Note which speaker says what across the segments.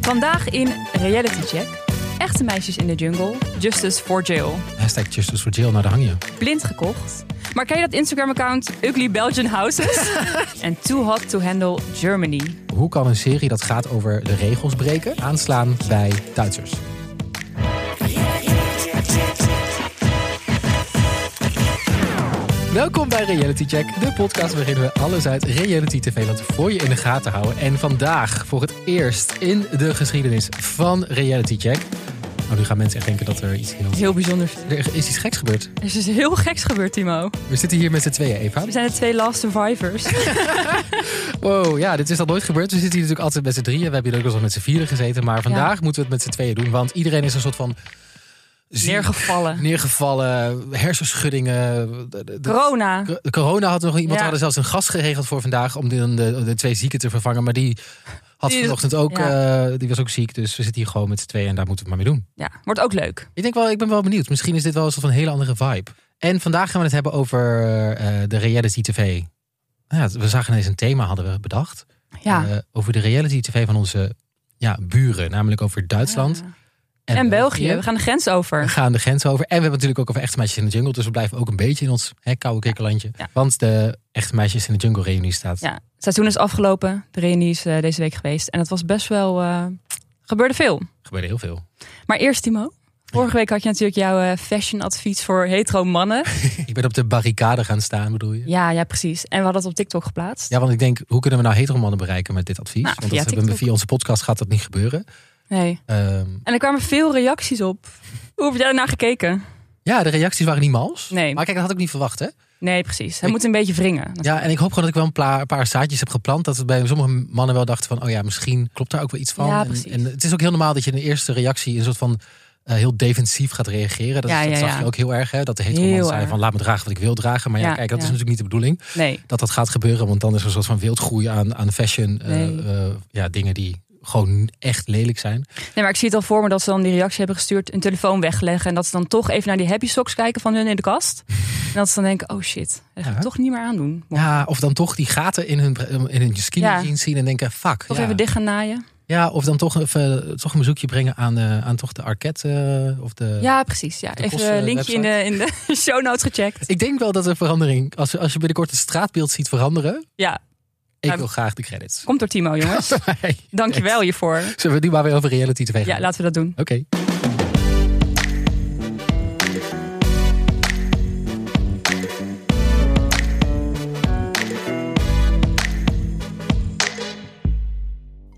Speaker 1: Vandaag in Reality Check. Echte meisjes in de jungle. Justice for Jail.
Speaker 2: Hashtag Justice for Jail, nou daar hang je.
Speaker 1: Blind gekocht. Maar ken je dat Instagram-account Ugly Belgian Houses? en Too Hot to Handle Germany.
Speaker 2: Hoe kan een serie dat gaat over de regels breken aanslaan bij Duitsers? Welkom bij Reality Check, de podcast waarin we alles uit reality tv land voor je in de gaten houden. En vandaag voor het eerst in de geschiedenis van Reality Check. Nou, nu gaan mensen echt denken dat er iets heel...
Speaker 1: Heel bijzonder.
Speaker 2: Er is iets geks gebeurd.
Speaker 1: Er is dus heel geks gebeurd, Timo.
Speaker 2: We zitten hier met z'n tweeën, Eva.
Speaker 1: We zijn de twee last survivors.
Speaker 2: Wow, ja, dit is al nooit gebeurd. We zitten hier natuurlijk altijd met z'n drieën. We hebben hier ook wel eens met z'n vieren gezeten. Maar vandaag moeten we het met z'n tweeën doen. Want iedereen is een soort van... ziek,
Speaker 1: Neergevallen.
Speaker 2: Neergevallen, hersenschuddingen. De- de- de-
Speaker 1: Corona.
Speaker 2: de corona had nog iemand. We
Speaker 1: Ja.
Speaker 2: hadden zelfs een gast geregeld voor vandaag. om de, de, de twee zieken te vervangen. Maar die had
Speaker 1: Die-
Speaker 2: vanochtend ook.
Speaker 1: ja.
Speaker 2: eh, die was ook ziek. Dus we zitten hier gewoon met z'n tweeën. en daar moeten we het maar mee doen.
Speaker 1: Ja, wordt ook leuk.
Speaker 2: Ik denk wel, ik ben wel benieuwd. Misschien is dit wel een soort van hele andere vibe. En vandaag gaan we het hebben over eh, de reality TV. Nou Ja, we zagen ineens een thema hadden we bedacht.
Speaker 1: Ja.
Speaker 2: Eh, over de reality TV van onze ja, buren. Namelijk over Duitsland.
Speaker 1: Ja. En, België. We gaan de grens over.
Speaker 2: We gaan de grens over. En we hebben het natuurlijk ook over Echte Meisjes in de Jungle. Dus we blijven ook een beetje in ons hè, koude kikkerlandje.
Speaker 1: Ja.
Speaker 2: Want de Echte Meisjes in de Jungle reunie staat.
Speaker 1: Ja, het seizoen is afgelopen. De reunie is eh, deze week geweest. En dat was best wel... eh, gebeurde veel.
Speaker 2: gebeurde heel veel.
Speaker 1: Maar eerst, Timo. Vorige week had je natuurlijk jouw eh, fashion advies voor hetero mannen.
Speaker 2: Ik ben op de barricade gaan staan, bedoel je?
Speaker 1: Ja, ja, precies. En we hadden het op TikTok geplaatst.
Speaker 2: Ja, want ik denk, hoe kunnen we nou heteromannen bereiken met dit advies?
Speaker 1: Nou,
Speaker 2: want dat
Speaker 1: via
Speaker 2: hebben we
Speaker 1: TikTok.
Speaker 2: via onze podcast gaat dat niet gebeuren.
Speaker 1: Nee.
Speaker 2: Ehm,
Speaker 1: En er kwamen veel reacties op. Hoe heb jij daarnaar gekeken?
Speaker 2: ja, de reacties waren niet mals.
Speaker 1: Nee.
Speaker 2: Maar kijk, dat had ik niet verwacht, hè?
Speaker 1: Nee, precies. Hij
Speaker 2: Ik-
Speaker 1: moet een beetje wringen.
Speaker 2: Ja, en ik hoop gewoon dat ik wel een pla- paar zaadjes heb geplant. Dat we bij sommige mannen wel dachten van, oh ja, misschien klopt daar ook wel iets van.
Speaker 1: Ja,
Speaker 2: en,
Speaker 1: precies.
Speaker 2: en het is ook heel normaal dat je in de eerste reactie een soort van eh, heel defensief gaat reageren. Dat,
Speaker 1: Ja,
Speaker 2: dat
Speaker 1: ja,
Speaker 2: zag
Speaker 1: ja.
Speaker 2: je ook heel erg, hè? Dat de heteroman
Speaker 1: Heel
Speaker 2: zei
Speaker 1: erg.
Speaker 2: van, laat me dragen wat ik wil dragen. Maar ja,
Speaker 1: Ja,
Speaker 2: kijk, dat
Speaker 1: ja.
Speaker 2: is natuurlijk niet de bedoeling.
Speaker 1: Nee.
Speaker 2: dat dat gaat gebeuren. Want dan is er een soort van wildgroei aan, aan fashion. eh,
Speaker 1: Nee.
Speaker 2: eh, ja, dingen die gewoon echt lelijk zijn.
Speaker 1: nee, maar ik zie het al voor me dat ze dan die reactie hebben gestuurd, een telefoon wegleggen. En dat ze dan toch even naar die happy socks kijken van hun in de kast. en dat ze dan denken: oh shit, dat ga ik
Speaker 2: Ja.
Speaker 1: toch niet meer aandoen. Moet
Speaker 2: Ja, of dan toch die gaten in hun, eh, in hun skinny
Speaker 1: Ja.
Speaker 2: jeans zien en denken, fuck.
Speaker 1: Toch
Speaker 2: ja.
Speaker 1: even dicht gaan naaien.
Speaker 2: ja, of dan toch, even, eh, toch een bezoekje brengen aan, eh, aan toch de Arquette. eh, of de...
Speaker 1: ja, precies. Ja.
Speaker 2: de
Speaker 1: Even
Speaker 2: kosten- eh,
Speaker 1: een linkje in de, in de show notes gecheckt.
Speaker 2: Ik denk wel dat er verandering, als, als je binnenkort het straatbeeld ziet veranderen.
Speaker 1: Ja,
Speaker 2: Ik
Speaker 1: Ja.
Speaker 2: wil graag de credits.
Speaker 1: komt door Timo, jongens. Dankjewel hiervoor.
Speaker 2: Zullen we nu maar weer over reality tv gaan?
Speaker 1: Ja, laten we dat doen.
Speaker 2: Oké.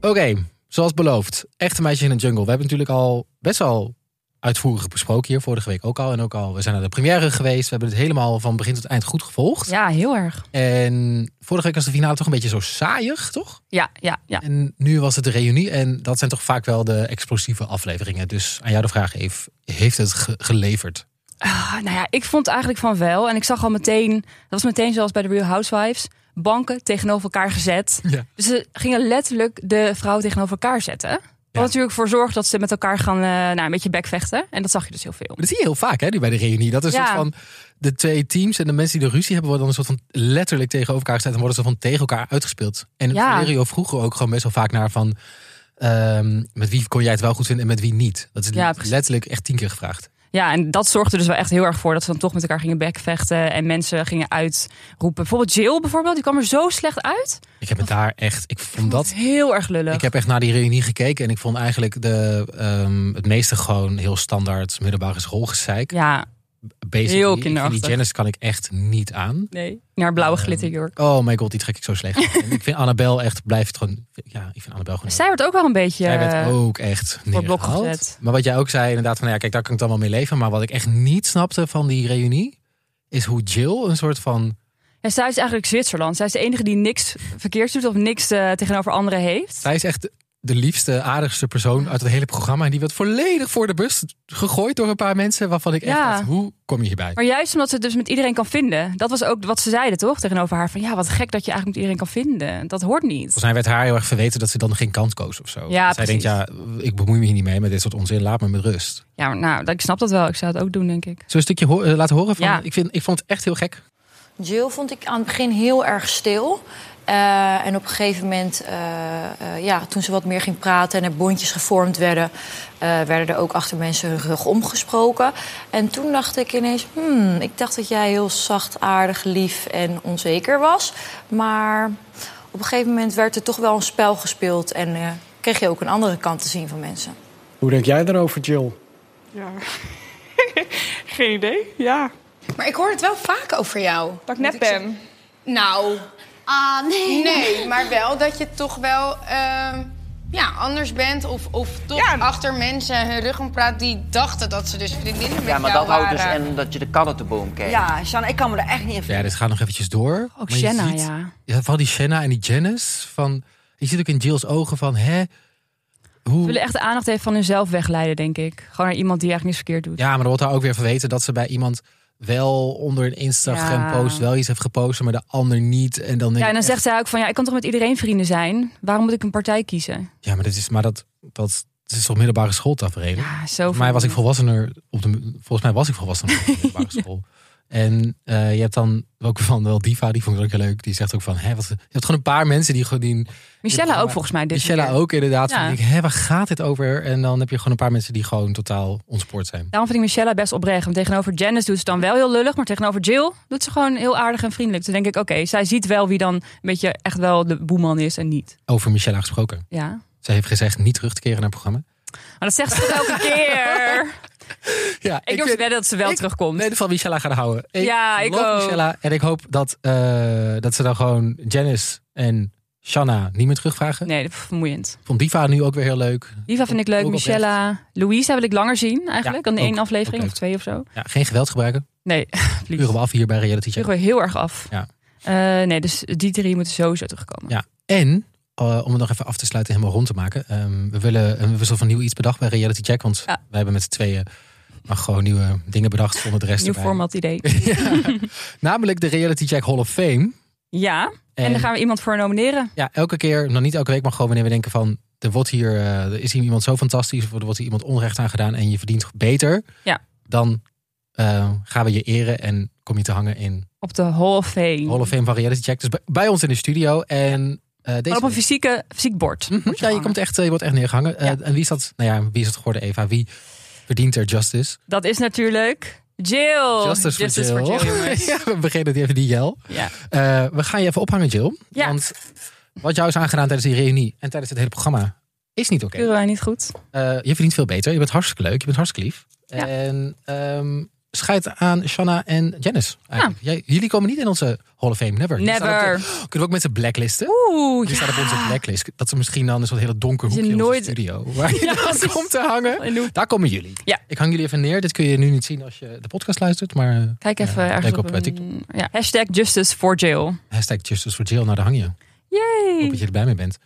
Speaker 2: Oké, zoals beloofd. Echte meisjes in de jungle. We hebben natuurlijk al best wel uitvoerig besproken hier. Vorige week ook al. En ook al, we zijn naar de première geweest. We hebben het helemaal van begin tot eind goed gevolgd.
Speaker 1: Ja, heel erg.
Speaker 2: En vorige week was de finale toch een beetje zo saaiig, toch?
Speaker 1: Ja, ja, ja.
Speaker 2: En nu was het de reunie en dat zijn toch vaak wel de explosieve afleveringen. Dus aan jou de vraag, Eve, heeft het ge- geleverd?
Speaker 1: Ah, nou ja, ik vond eigenlijk van wel. En ik zag al meteen, dat was meteen zoals bij de Real Housewives, banken tegenover elkaar gezet.
Speaker 2: Ja.
Speaker 1: Dus ze gingen letterlijk de vrouw tegenover elkaar zetten. Wat
Speaker 2: Ja.
Speaker 1: natuurlijk voor zorgt dat ze met elkaar gaan eh, nou, een beetje bekvechten. En dat zag je dus heel veel.
Speaker 2: Dat zie je heel vaak hè, nu bij de reunie. Dat is een
Speaker 1: Ja.
Speaker 2: soort van de twee teams en de mensen die de ruzie hebben worden dan een soort van letterlijk tegenover elkaar gezet en worden ze van tegen elkaar uitgespeeld. En
Speaker 1: Ja.
Speaker 2: Valerio vroeger ook gewoon best wel vaak naar van ehm, met wie kon jij het wel goed vinden en met wie niet. Dat is
Speaker 1: Ja, precies.
Speaker 2: letterlijk echt tien keer gevraagd.
Speaker 1: Ja, en dat zorgde dus wel echt heel erg voor dat ze dan toch met elkaar gingen bekvechten. En mensen gingen uitroepen. Bijvoorbeeld Jill bijvoorbeeld, die kwam er zo slecht uit.
Speaker 2: Ik heb het daar echt, ik vond dat
Speaker 1: is heel erg lullig.
Speaker 2: Ik heb echt naar die reunie gekeken en ik vond eigenlijk de, ehm, het meeste gewoon heel standaard middelbare schoolgezeik.
Speaker 1: Ja,
Speaker 2: Basically,
Speaker 1: heel
Speaker 2: ik vind
Speaker 1: kinderachtig.
Speaker 2: Die Janice kan ik echt niet aan.
Speaker 1: nee. Naar blauwe
Speaker 2: Ehm,
Speaker 1: glitterjurk.
Speaker 2: Oh my god, die trek ik zo slecht. aan. En ik vind Annabel echt, blijft gewoon, ja, ik vind Annabel gewoon...
Speaker 1: Zij werd ook wel een beetje... eh,
Speaker 2: Zij werd ook echt
Speaker 1: blok
Speaker 2: neergehaald.
Speaker 1: gezet.
Speaker 2: Maar wat jij ook zei, inderdaad, van ja, kijk, daar kan ik dan wel mee leven. Maar wat ik echt niet snapte van die reunie, is hoe Jill een soort van...
Speaker 1: En zij is eigenlijk Zwitserland. Zij is de enige die niks verkeerd doet of niks eh, tegenover anderen heeft.
Speaker 2: Zij is echt de liefste, aardigste persoon uit het hele programma. En die werd volledig voor de bus gegooid door een paar mensen, waarvan ik echt
Speaker 1: Ja.
Speaker 2: dacht, hoe kom je hierbij?
Speaker 1: Maar juist omdat ze het dus met iedereen kan vinden. Dat was ook wat ze zeiden, toch? Tegenover haar van ja, wat gek dat je eigenlijk met iedereen kan vinden. Dat hoort niet.
Speaker 2: Volgens mij werd haar heel erg verweten dat ze dan geen kant koos of zo.
Speaker 1: Ja,
Speaker 2: Dat zij denkt,
Speaker 1: precies.
Speaker 2: ja, ik bemoei me hier niet mee met dit soort onzin. Laat me met rust.
Speaker 1: Ja, maar nou, ik snap dat wel. Ik zou het ook doen, denk ik.
Speaker 2: Zo een stukje ho- eh, laten horen van...
Speaker 1: Ja.
Speaker 2: Ik, vind, ik vond het echt heel gek.
Speaker 3: Jill vond ik aan het begin heel erg stil. Eh, en op een gegeven moment, eh, eh, ja, toen ze wat meer ging praten en er bondjes gevormd werden, eh, werden er ook achter mensen hun rug omgesproken. En toen dacht ik ineens, hmm, ik dacht dat jij heel zacht, aardig, lief en onzeker was. Maar op een gegeven moment werd er toch wel een spel gespeeld en eh, kreeg je ook een andere kant te zien van mensen.
Speaker 4: Hoe denk jij daarover, Jill?
Speaker 5: Ja. Geen idee. Ja.
Speaker 6: Maar ik hoor het wel vaak over jou.
Speaker 5: Dat ik
Speaker 6: Moet
Speaker 5: net
Speaker 6: zeggen.
Speaker 5: ben.
Speaker 6: Nou, nee. maar wel dat je toch wel ehm, ja, anders bent. Of, of toch
Speaker 5: Ja.
Speaker 6: achter mensen hun rug om praat die dachten dat ze dus vriendinnen met
Speaker 7: Ja, maar
Speaker 6: jou
Speaker 7: dat houdt
Speaker 6: waren.
Speaker 7: dus en dat je de kat uit de boom kijkt.
Speaker 8: Ja, Shanna, ik kan me er echt niet in
Speaker 2: Ja, dit gaat nog eventjes door.
Speaker 1: Ook
Speaker 2: Maar je
Speaker 1: Oh, Shanna,
Speaker 2: ziet-
Speaker 1: ja.
Speaker 2: Ja, vooral die Shanna en die Janice. Van, je ziet ook in Jill's ogen van, hè?
Speaker 1: Ze
Speaker 2: Hoe...
Speaker 1: willen echt de aandacht even van hunzelf wegleiden, denk ik. Gewoon naar iemand die eigenlijk niks verkeerd doet.
Speaker 2: Ja, maar er wordt daar ook weer verweten dat ze bij iemand wel onder een Instagram-post
Speaker 1: Ja.
Speaker 2: wel iets heeft gepost, maar de ander niet. En dan denk
Speaker 1: Ja,
Speaker 2: ik
Speaker 1: en dan
Speaker 2: echt,
Speaker 1: zegt zij ook van ja, ik kan toch met iedereen vrienden zijn? Waarom moet ik een partij kiezen?
Speaker 2: ja, maar, dit is, maar dat, dat, dit is toch middelbare schooltafereel?
Speaker 1: Ja, Ah, zo
Speaker 2: Volgens mij was ik
Speaker 1: vermoeiend.
Speaker 2: volwassener op de, volgens mij was ik volwassener op de middelbare school. En eh, je hebt dan ook van wel Diva, die vond ik ook heel leuk. Die zegt ook van, hè, wat, je hebt gewoon een paar mensen die gewoon... Die,
Speaker 1: Michelle ook volgens mij. Dit
Speaker 2: Michelle
Speaker 1: keer.
Speaker 2: ook inderdaad.
Speaker 1: Ja.
Speaker 2: Van, ik, hè, waar gaat dit over? En dan heb je gewoon een paar mensen die gewoon totaal ontspoord zijn.
Speaker 1: Daarom vind ik Michelle best oprecht. Want tegenover Janice doet ze dan wel heel lullig. Maar tegenover Jill doet ze gewoon heel aardig en vriendelijk. Toen denk ik, oké, zij ziet wel wie dan een beetje echt wel de boeman is en niet.
Speaker 2: Over Michelle gesproken.
Speaker 1: Ja. Maar
Speaker 2: Zij heeft gezegd niet terug te keren naar het programma.
Speaker 1: dat zegt ze toch elke keer.
Speaker 2: Ja,
Speaker 1: Ik, durf te wedden dat ze wel
Speaker 2: ik-
Speaker 1: terugkomt.
Speaker 2: Nee, van Michelle gaan houden. Ik
Speaker 1: Ja, ik
Speaker 2: love
Speaker 1: ook.
Speaker 2: Michelle. En ik hoop dat, eh, dat ze dan gewoon Janice en Shanna niet meer terugvragen.
Speaker 1: Nee, dat is vermoeiend.
Speaker 2: Vond Diva nu ook weer heel leuk.
Speaker 1: Liva vind ik leuk.
Speaker 2: Ook oprecht.
Speaker 1: Michelle, Louisa wil ik langer zien eigenlijk.
Speaker 2: Ja,
Speaker 1: dan
Speaker 2: ook-
Speaker 1: één aflevering
Speaker 2: ook
Speaker 1: of twee of zo.
Speaker 2: Ja, geen geweld gebruiken.
Speaker 1: Nee, please.
Speaker 2: Uren we af hier bij Reality Check.
Speaker 1: Vliegen we heel erg af.
Speaker 2: Ja.
Speaker 1: Eh, nee, dus die drie moeten sowieso terugkomen.
Speaker 2: Ja. En eh, om het nog even af te sluiten, helemaal rond te maken. ehm, we willen een wissel van nieuw iets bedacht bij Reality Check. Want
Speaker 1: Ja.
Speaker 2: wij hebben met z'n tweeën maar gewoon nieuwe dingen bedacht zonder de rest
Speaker 1: Nieuw
Speaker 2: erbij.
Speaker 1: format idee.
Speaker 2: Namelijk de Reality Check Hall of Fame.
Speaker 1: Ja, en,
Speaker 2: En-
Speaker 1: daar gaan we iemand voor nomineren.
Speaker 2: Ja, elke keer, nog niet elke week, maar gewoon wanneer we denken van... Er, wordt hier, eh, er is hier iemand zo fantastisch, of er wordt hier iemand onrecht aan gedaan... en je verdient beter,
Speaker 1: Ja.
Speaker 2: dan eh, gaan we je eren en kom je te hangen in
Speaker 1: Op de Hall of Fame.
Speaker 2: Hall of Fame van Reality Check. Dus bij, bij ons in de studio. En eh
Speaker 1: Maar
Speaker 2: deze
Speaker 1: op een
Speaker 2: week-
Speaker 1: fysieke, fysiek bord.
Speaker 2: Mhm.
Speaker 1: Wordt je
Speaker 2: Ja, je,
Speaker 1: gehangen.
Speaker 2: komt echt, eh, je wordt echt neergehangen. Eh,
Speaker 1: Ja.
Speaker 2: en wie is dat? Nou ja, wie is het geworden, Eva? Wie verdient er justice?
Speaker 1: Dat is natuurlijk Jill.
Speaker 2: justice voor
Speaker 1: Oh, Justice
Speaker 2: Jill.
Speaker 1: jongens.
Speaker 2: ja, we beginnen even die jel.
Speaker 1: ja.
Speaker 2: Eh, we gaan je even ophangen, Jill.
Speaker 1: Ja.
Speaker 2: Want wat jou is aangedaan tijdens die reunie en tijdens het hele programma is niet oké.
Speaker 1: Keuren wij niet goed.
Speaker 2: Eh, je verdient veel beter. Je bent hartstikke leuk. Je bent hartstikke lief.
Speaker 1: Ja.
Speaker 2: En ehm scheid aan Shanna en Janice. eigenlijk. Jij, jullie komen niet in onze Hall of Fame. Never. Die staan op de-
Speaker 1: Never.
Speaker 2: kunnen we ook mensen blacklisten?
Speaker 1: Oeh,
Speaker 2: Die
Speaker 1: ja.
Speaker 2: staat op onze blacklist. Dat ze misschien dan een soort hele donker
Speaker 1: Je
Speaker 2: hoekje in onze
Speaker 1: nooit-
Speaker 2: studio. Waar je
Speaker 1: Ja,
Speaker 2: dan
Speaker 1: precies.
Speaker 2: komt te hangen.
Speaker 1: En hoe-
Speaker 2: Daar komen jullie.
Speaker 1: Ja.
Speaker 2: Ik hang jullie even neer. Dit kun je nu niet zien als je de podcast luistert. Maar eh,
Speaker 1: Kijk even
Speaker 2: Ja,
Speaker 1: ergens
Speaker 2: kijk
Speaker 1: op,
Speaker 2: op, eh,
Speaker 1: een... ja. Hashtag Justice for Jill.
Speaker 2: hashtag Justice for Jill. Nou, daar hang je. Ik hoop dat
Speaker 1: Yay.
Speaker 2: je er blij mee bent.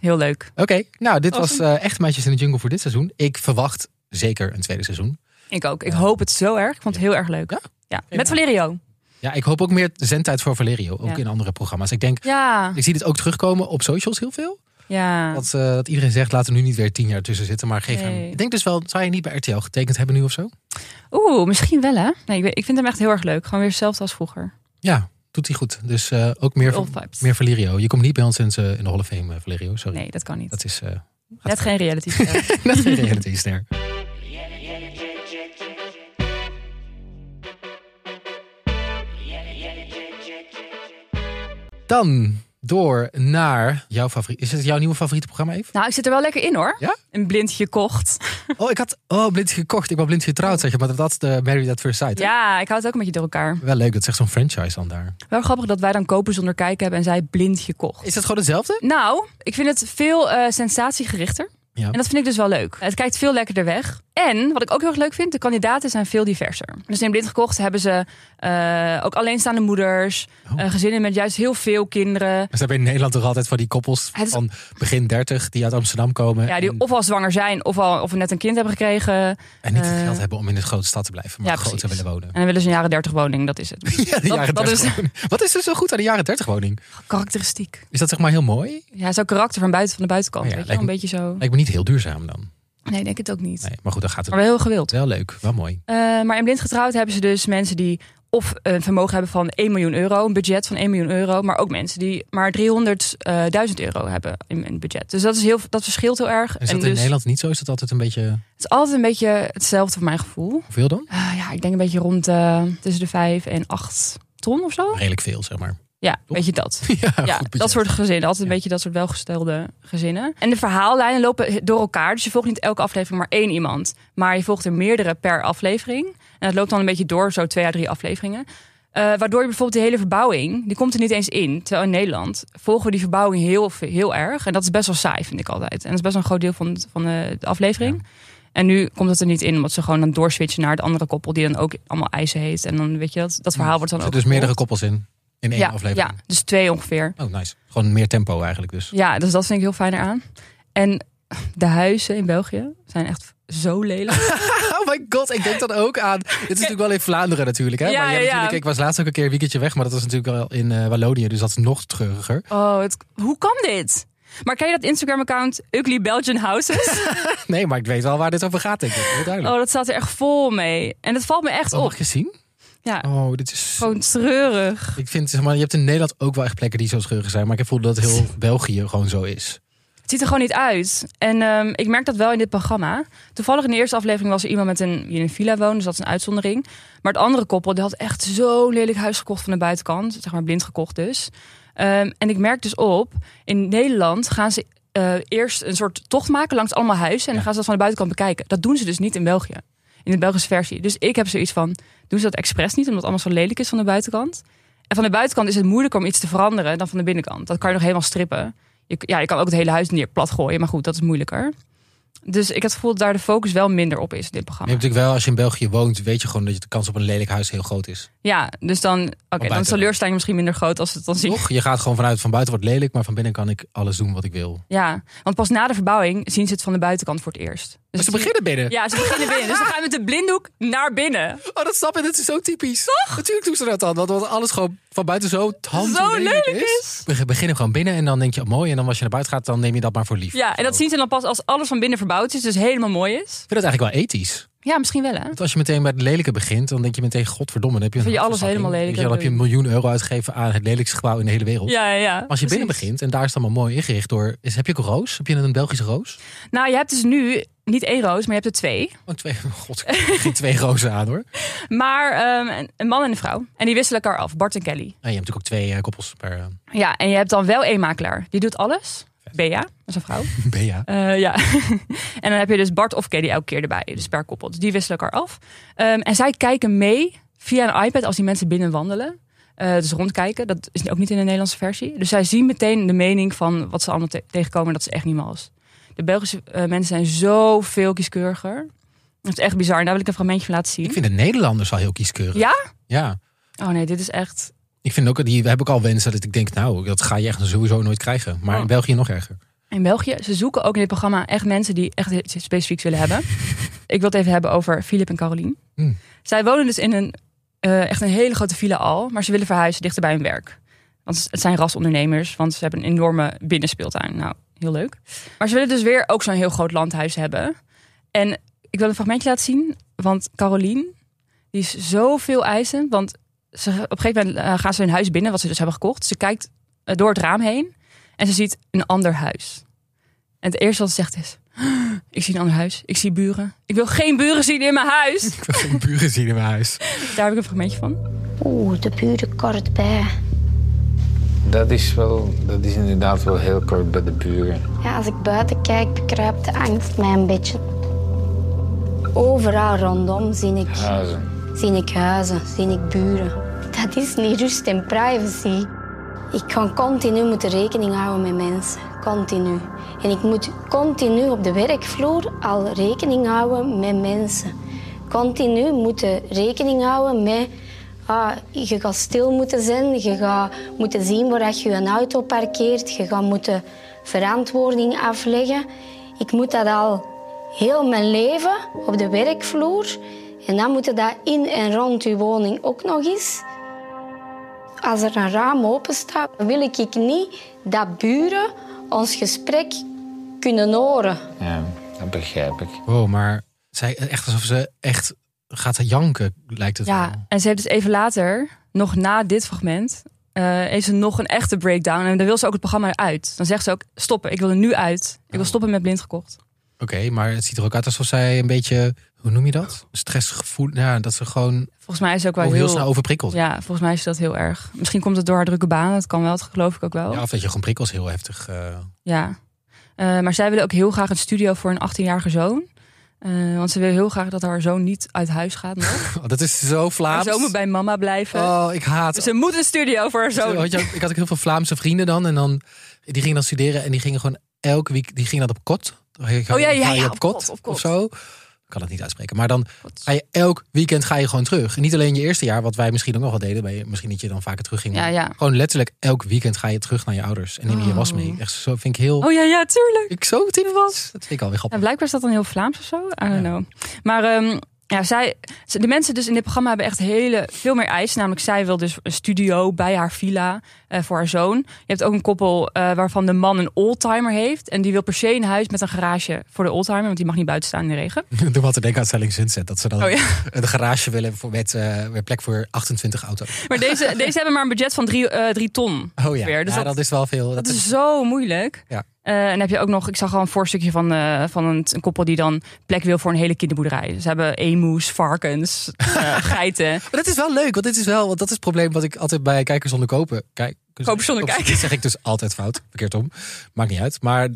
Speaker 1: Heel leuk.
Speaker 2: Oké, nou dit was
Speaker 1: Awesome.
Speaker 2: eh, Echt Meisjes in de Jungle voor dit seizoen. Ik verwacht zeker een tweede seizoen.
Speaker 1: Ik ook. Ik hoop het zo erg. Ik vond het heel erg leuk.
Speaker 2: Ja?
Speaker 1: ja. Met Valerio.
Speaker 2: Ja, ik hoop ook meer zendtijd voor Valerio. Ook
Speaker 1: Ja.
Speaker 2: in andere programma's. Ik denk,
Speaker 1: Ja.
Speaker 2: ik zie dit ook terugkomen op socials heel veel.
Speaker 1: Ja.
Speaker 2: Dat, eh, dat iedereen zegt, laten we nu niet weer tien jaar tussen zitten. Maar geef hem...
Speaker 1: Nee.
Speaker 2: Ik denk dus wel, zou je niet bij RTL getekend hebben nu of zo?
Speaker 1: Oeh, misschien wel hè. Nee, ik, weet- ik vind hem echt heel erg leuk. Gewoon weer hetzelfde als vroeger.
Speaker 2: Ja, doet hij goed. Dus eh, ook meer,
Speaker 1: All vibes.
Speaker 2: meer Valerio. Je komt niet bij ons in, eh, in de Hall of Fame, eh, Valerio. Sorry.
Speaker 1: Nee, dat kan niet.
Speaker 2: Dat is eh
Speaker 1: Net geen reality show.
Speaker 2: net geen realityster. Dan door naar jouw favoriet. Is het jouw nieuwe favoriete programma even?
Speaker 1: nou, ik zit er wel lekker in hoor.
Speaker 2: Ja?
Speaker 1: Een blindje kocht.
Speaker 2: Oh, ik had oh, blind gekocht. Ik ben blind getrouwd, zeg je. Maar dat is de Married at First Sight. hè?
Speaker 1: Ja, ik hou het ook een beetje door elkaar.
Speaker 2: Wel leuk, dat zegt zo'n franchise dan daar.
Speaker 1: Wel grappig dat wij dan kopen zonder kijken hebben en zij blind gekocht.
Speaker 2: Is dat gewoon hetzelfde?
Speaker 1: Nou, ik vind het veel eh, sensatiegerichter.
Speaker 2: Ja.
Speaker 1: En dat vind ik dus wel leuk. Het kijkt veel lekkerder weg. En wat ik ook heel erg leuk vind, de kandidaten zijn veel diverser. Dus in Blind Gekocht hebben ze eh, ook alleenstaande moeders,
Speaker 2: Oh.
Speaker 1: eh, gezinnen met juist heel veel kinderen.
Speaker 2: Maar ze hebben in Nederland toch altijd van die koppels
Speaker 1: Het is-
Speaker 2: van begin 30 die uit Amsterdam komen.
Speaker 1: Ja, die
Speaker 2: en,
Speaker 1: of al zwanger zijn of, al, of net een kind hebben gekregen. En
Speaker 2: en niet het
Speaker 1: eh,
Speaker 2: geld hebben om in de grote stad te blijven, maar
Speaker 1: ja,
Speaker 2: groot te
Speaker 1: precies.
Speaker 2: willen wonen.
Speaker 1: dan willen ze een jaren dertig woning, dat is het.
Speaker 2: Ja, de
Speaker 1: Dat-
Speaker 2: jaren
Speaker 1: dat
Speaker 2: 30
Speaker 1: is-
Speaker 2: woning. Wat is er zo goed aan de jaren 30 woning?
Speaker 1: Karakteristiek.
Speaker 2: Is dat zeg maar heel mooi?
Speaker 1: Ja, zo'n karakter van buiten van de buitenkant.
Speaker 2: Oh ja,
Speaker 1: weet je, wel,
Speaker 2: lijkt
Speaker 1: een beetje zo.
Speaker 2: Lijkt me niet heel duurzaam dan.
Speaker 1: Nee, denk het ook niet.
Speaker 2: Nee, maar goed, dan gaat het
Speaker 1: Maar wel heel gewild.
Speaker 2: wel leuk, wel mooi.
Speaker 1: Eh, maar in blind getrouwd hebben ze dus mensen die of een vermogen hebben van 1 miljoen euro, een budget van 1 miljoen euro, maar ook mensen die maar 300.000 euro hebben in een budget. Dus dat, is heel, dat verschilt heel erg.
Speaker 2: Is dat
Speaker 1: en
Speaker 2: in
Speaker 1: dus,
Speaker 2: Nederland niet zo? Is dat altijd een beetje...
Speaker 1: Het is altijd een beetje hetzelfde voor mijn gevoel.
Speaker 2: Hoeveel dan?
Speaker 1: Ah, ja, ik denk een beetje rond eh, tussen de 5 en 8 ton of zo.
Speaker 2: Redelijk veel, zeg maar.
Speaker 1: Ja,
Speaker 2: Toch?
Speaker 1: weet je dat.
Speaker 2: ja,
Speaker 1: Ja,
Speaker 2: goed budget.
Speaker 1: dat soort gezinnen. Altijd een
Speaker 2: Ja.
Speaker 1: beetje dat soort welgestelde gezinnen. En de verhaallijnen lopen door elkaar. Dus je volgt niet elke aflevering maar één iemand. Maar je volgt er meerdere per aflevering. En dat loopt dan een beetje door, zo twee à drie afleveringen. Eh, waardoor je bijvoorbeeld die hele verbouwing, die komt er niet eens in. Terwijl in Nederland volgen we die verbouwing heel, ve- heel erg. En dat is best wel saai, vind ik altijd. En dat is best wel een groot deel van, het- van eh, de aflevering. En nu komt het er niet in, omdat ze gewoon dan doorswitchen naar het andere koppel... die dan ook allemaal eisen heet. En dan weet je dat, dat verhaal wordt dan
Speaker 2: Er
Speaker 1: ook...
Speaker 2: zitten dus meerdere
Speaker 1: gevolgd.
Speaker 2: koppels in. In één
Speaker 1: ja,
Speaker 2: aflevering.
Speaker 1: Ja, dus twee ongeveer.
Speaker 2: Oh, nice. Gewoon meer tempo eigenlijk dus.
Speaker 1: Ja, dus dat vind ik heel fijn eraan. En de huizen in België zijn echt zo lelijk.
Speaker 2: Oh my god, ik denk dat ook aan. Dit is natuurlijk wel in Vlaanderen natuurlijk. Hè?
Speaker 1: Ja,
Speaker 2: maar je hebt
Speaker 1: ja, ja.
Speaker 2: natuurlijk, ik was laatst ook een keer een weekendje weg, maar dat was natuurlijk wel in eh, Wallonië, dus dat is nog treuriger.
Speaker 1: Oh, het, hoe kan dit? Maar ken je dat Instagram-account Ugly Belgian Houses?
Speaker 2: Nee, maar ik weet wel waar dit over gaat, denk ik. Heel duidelijk.
Speaker 1: Oh, dat staat er echt vol mee. En dat valt me echt
Speaker 2: Oh,
Speaker 1: op.
Speaker 2: mag je zien?
Speaker 1: Ja,
Speaker 2: Oh, dit is.
Speaker 1: gewoon treurig.
Speaker 2: Ik vind, zeg maar, je hebt in Nederland ook wel echt plekken die zo scheurig zijn, maar ik heb het gevoel dat heel België gewoon zo is.
Speaker 1: Het ziet er gewoon niet uit. En ehm, ik merk dat wel in dit programma. Toevallig in de eerste aflevering was er iemand met een, die in een villa woonde, dus dat is een uitzondering. Maar het andere koppel, die had echt zo'n lelijk huis gekocht van de buitenkant. Zeg maar blind gekocht dus. Ehm, en ik merk dus op, in Nederland gaan ze eh, eerst een soort tocht maken langs allemaal huizen. En dan gaan ze dat van de buitenkant bekijken. Dat doen ze dus niet in België. In de Belgische versie. Dus ik heb zoiets van, doen ze dat expres niet, omdat het allemaal zo lelijk is van de buitenkant? En van de buitenkant is het moeilijker om iets te veranderen dan van de binnenkant. Dat kan je nog helemaal strippen. Je, ja, je kan ook het hele huis neer plat gooien, maar goed, dat is moeilijker. Dus ik heb het gevoel dat daar de focus wel minder op is in dit
Speaker 2: Je
Speaker 1: programma.
Speaker 2: hebt natuurlijk wel, als je in België woont, weet je gewoon dat je de kans op een lelijk huis heel groot is.
Speaker 1: Ja, dus dan, oké, dan is
Speaker 2: buiten-
Speaker 1: de teleurstelling misschien minder groot als het dan zie.
Speaker 2: Toch? Je gaat gewoon vanuit van buiten wordt lelijk, maar van binnen kan ik alles doen wat ik wil.
Speaker 1: Ja, want pas na de verbouwing zien ze het van de buitenkant voor het eerst. Dus
Speaker 2: Maar ze
Speaker 1: het-
Speaker 2: beginnen binnen.
Speaker 1: Ja, ze beginnen binnen. Dus dan gaan we met de blinddoek naar binnen.
Speaker 2: Oh, dat snap ik. Dat is zo typisch. Toch? Natuurlijk doen ze dat dan. Want omdat alles gewoon van buiten zo tand
Speaker 1: Zo lelijk
Speaker 2: is. We beginnen gewoon binnen en dan denk je, oh, mooi. En dan als je naar buiten gaat, dan neem je dat maar voor lief.
Speaker 1: Ja, en dat zien ze dan pas als alles van binnen verbouwd is, dus helemaal mooi is.
Speaker 2: Ik vind dat eigenlijk wel ethisch.
Speaker 1: Ja, misschien wel hè.
Speaker 2: Want als je meteen bij het lelijke begint, dan denk je meteen, godverdomme. Dan heb je, een
Speaker 1: Vind je alles
Speaker 2: hartverzakking.
Speaker 1: helemaal
Speaker 2: Weet
Speaker 1: lelijk
Speaker 2: je, Dan heb je een miljoen euro uitgegeven aan het lelijkste gebouw in de hele wereld.
Speaker 1: Ja, ja, ja.
Speaker 2: Maar als je binnen
Speaker 1: Precies.
Speaker 2: begint en daar is het allemaal mooi ingericht door... Is, heb je ook een roos? Heb je een Belgische roos?
Speaker 1: Nou, je hebt dus nu niet één roos, maar je hebt er twee.
Speaker 2: Oh, twee, god, ik heb geen twee rozen aan hoor. En
Speaker 1: Maar ehm, een- een man en een vrouw. En die wisselen elkaar af, Bart en Kelly.
Speaker 2: je hebt natuurlijk ook twee eh, koppels per eh,
Speaker 1: Ja, en je hebt dan wel één makelaar. Die doet alles. Bea, dat is een vrouw.
Speaker 2: Bea.
Speaker 1: Eh, ja. en dan heb je dus Bart of Kelly elke keer erbij. Dus per koppel. Dus die wisselen elkaar af. Ehm, en zij kijken mee via een iPad als die mensen binnen wandelen. Eh, dus rondkijken. Dat is ook niet in de Nederlandse versie. Dus zij zien meteen de mening van wat ze allemaal te- tegenkomen. en Dat is echt niet mals. De Belgische eh, mensen zijn zoveel kieskeuriger. Dat is echt bizar. En daar wil ik een fragmentje van laten
Speaker 2: Ik
Speaker 1: zien.
Speaker 2: vind de Nederlanders wel heel kieskeurig.
Speaker 1: Ja?
Speaker 2: Ja.
Speaker 1: Oh nee, dit is echt...
Speaker 2: Ik vind ook, die heb ik al wensen dat ik denk, nou, dat ga je echt sowieso nooit krijgen.
Speaker 1: Oh.
Speaker 2: Maar in België nog erger.
Speaker 1: In België, ze zoeken ook in dit programma echt mensen die echt iets specifieks willen hebben. Ik wil het even hebben over Filip en Caroline.
Speaker 2: Hmm.
Speaker 1: Zij wonen dus in een, eh, echt een hele grote villa al, maar ze willen verhuizen dichter bij hun werk. Want het zijn rasondernemers, want ze hebben een enorme binnenspeeltuin. Nou, heel leuk. Maar ze willen dus weer ook zo'n heel groot landhuis hebben. En ik wil een fragmentje laten zien, want Caroline, die is zoveel eisend. Want ze, op een gegeven moment eh, gaan ze hun huis binnen, wat ze dus hebben gekocht. Ze kijkt eh, door het raam heen en ze ziet een ander huis. En het eerste wat ze zegt is: Ik zie een ander huis, ik zie buren. Ik wil geen buren zien in mijn huis.
Speaker 2: Ik wil geen buren zien in mijn huis.
Speaker 1: Daar heb ik een fragmentje van.
Speaker 8: Oeh, de buren kort bij.
Speaker 9: Dat is, wel, dat is inderdaad wel heel kort bij de buren.
Speaker 8: Ja, als ik buiten kijk, bekruipt de angst mij een beetje. Overal rondom zie ik,
Speaker 9: Huizen.
Speaker 8: zie ik huizen, zie ik buren. Dat is niet rust en privacy. Ik ga continu moeten rekening houden met mensen. Continu. En ik moet continu op de werkvloer al rekening houden met mensen. Continu moeten rekening houden met... ah, je gaat stil moeten zijn. Je gaat moeten zien waar je een auto parkeert. Je gaat moeten verantwoording afleggen. Ik moet dat al heel mijn leven op de werkvloer. En dan moet dat in en rond je woning ook nog eens. Als er een raam open staat, wil ik niet dat buren ons gesprek kunnen horen.
Speaker 9: Ja, dat begrijp ik.
Speaker 2: Wow, maar zij, echt alsof ze echt gaat janken, lijkt het
Speaker 1: Ja,
Speaker 2: wel.
Speaker 1: en ze heeft dus even later, nog na dit fragment, eh, heeft ze nog een echte breakdown. En dan wil ze ook het programma uit. Dan zegt ze ook, stoppen, ik wil er nu uit. Ik wil
Speaker 2: Oh.
Speaker 1: stoppen met blind gekocht.
Speaker 2: Oké, maar het ziet er ook uit alsof zij een beetje, hoe noem je dat? Stressgevoel, ja, dat ze gewoon
Speaker 1: Volgens mij is ze ook wel
Speaker 2: Oh, heel,
Speaker 1: heel...
Speaker 2: snel overprikkeld. Ja.
Speaker 1: ja, volgens mij is dat heel erg. Misschien komt het door haar drukke baan, dat kan wel, dat geloof ik ook wel. Ja.
Speaker 2: of dat je gewoon prikkels heel heftig... eh,
Speaker 1: Eh, maar zij willen ook heel graag een studio voor een 18-jarige zoon. Eh, want ze wil heel graag dat haar zoon niet uit huis gaat nog.
Speaker 2: Oh, dat is zo
Speaker 1: Haar
Speaker 2: Vlaams.
Speaker 1: zoon moet bij mama blijven.
Speaker 2: Oh, ik haat
Speaker 1: Dus Ze moet een studio voor haar
Speaker 2: Zo,
Speaker 1: zoon.
Speaker 2: had je ook- ik had ook heel veel Vlaamse vrienden dan. En dan, die gingen dan studeren en die gingen gewoon elke week, die gingen dat op kot.
Speaker 1: Oh, ja, ja, ja,
Speaker 2: op,
Speaker 1: op
Speaker 2: kot,
Speaker 1: kot, op kot.
Speaker 2: Of zo. Ik kan het niet uitspreken. Maar dan ga je elk weekend ga je gewoon terug. En niet alleen je eerste jaar, wat wij misschien ook nog wel deden. Bij, misschien dat je dan vaker terug ging.
Speaker 1: Ja, ja.
Speaker 2: Gewoon letterlijk elk weekend ga je terug naar je ouders. En neem je je was mee. Echt zo vind ik heel...
Speaker 1: Oh ja, ja, tuurlijk.
Speaker 2: Ik zo meteen was. Dat vind ik alweer
Speaker 1: Ja,
Speaker 2: grappig.
Speaker 1: blijkbaar is dat dan heel Vlaams of zo. I don't know. Maar ehm, ja, zij, ze- de mensen dus in dit programma hebben echt hele, veel meer eisen. Namelijk, zij wil dus een studio bij haar villa eh, voor haar zoon. Je hebt ook een koppel eh, waarvan de man een oldtimer heeft. En die wil per se een huis met een garage voor de oldtimer. Want die mag niet buiten staan in de regen.
Speaker 2: Toen had ik denken aan Selling Sunset. Dat ze dan
Speaker 1: Oh
Speaker 2: een garage willen voor, met, eh, met plek voor 28 auto's.
Speaker 1: Maar deze, deze hebben maar een budget van drie, eh, drie ton.
Speaker 2: Oh ja,
Speaker 1: Weer, dus
Speaker 2: ja
Speaker 1: dat-
Speaker 2: dat is wel veel.
Speaker 1: Dat is zo moeilijk.
Speaker 2: Ja.
Speaker 1: Eh, en dan heb je ook nog, ik zag al een voorstukje van, eh, van een, een koppel die dan plek wil voor een hele kinderboerderij. Dus Ze hebben emus, varkens, eh, geiten.
Speaker 2: Maar dat is wel leuk, want dit is wel, want dat is het probleem wat ik altijd bij kijkers zonder kopen. Kijk,
Speaker 1: Kopen zonder kijken.
Speaker 2: Dat zeg ik dus altijd fout, verkeerd om. Maakt niet uit. Maar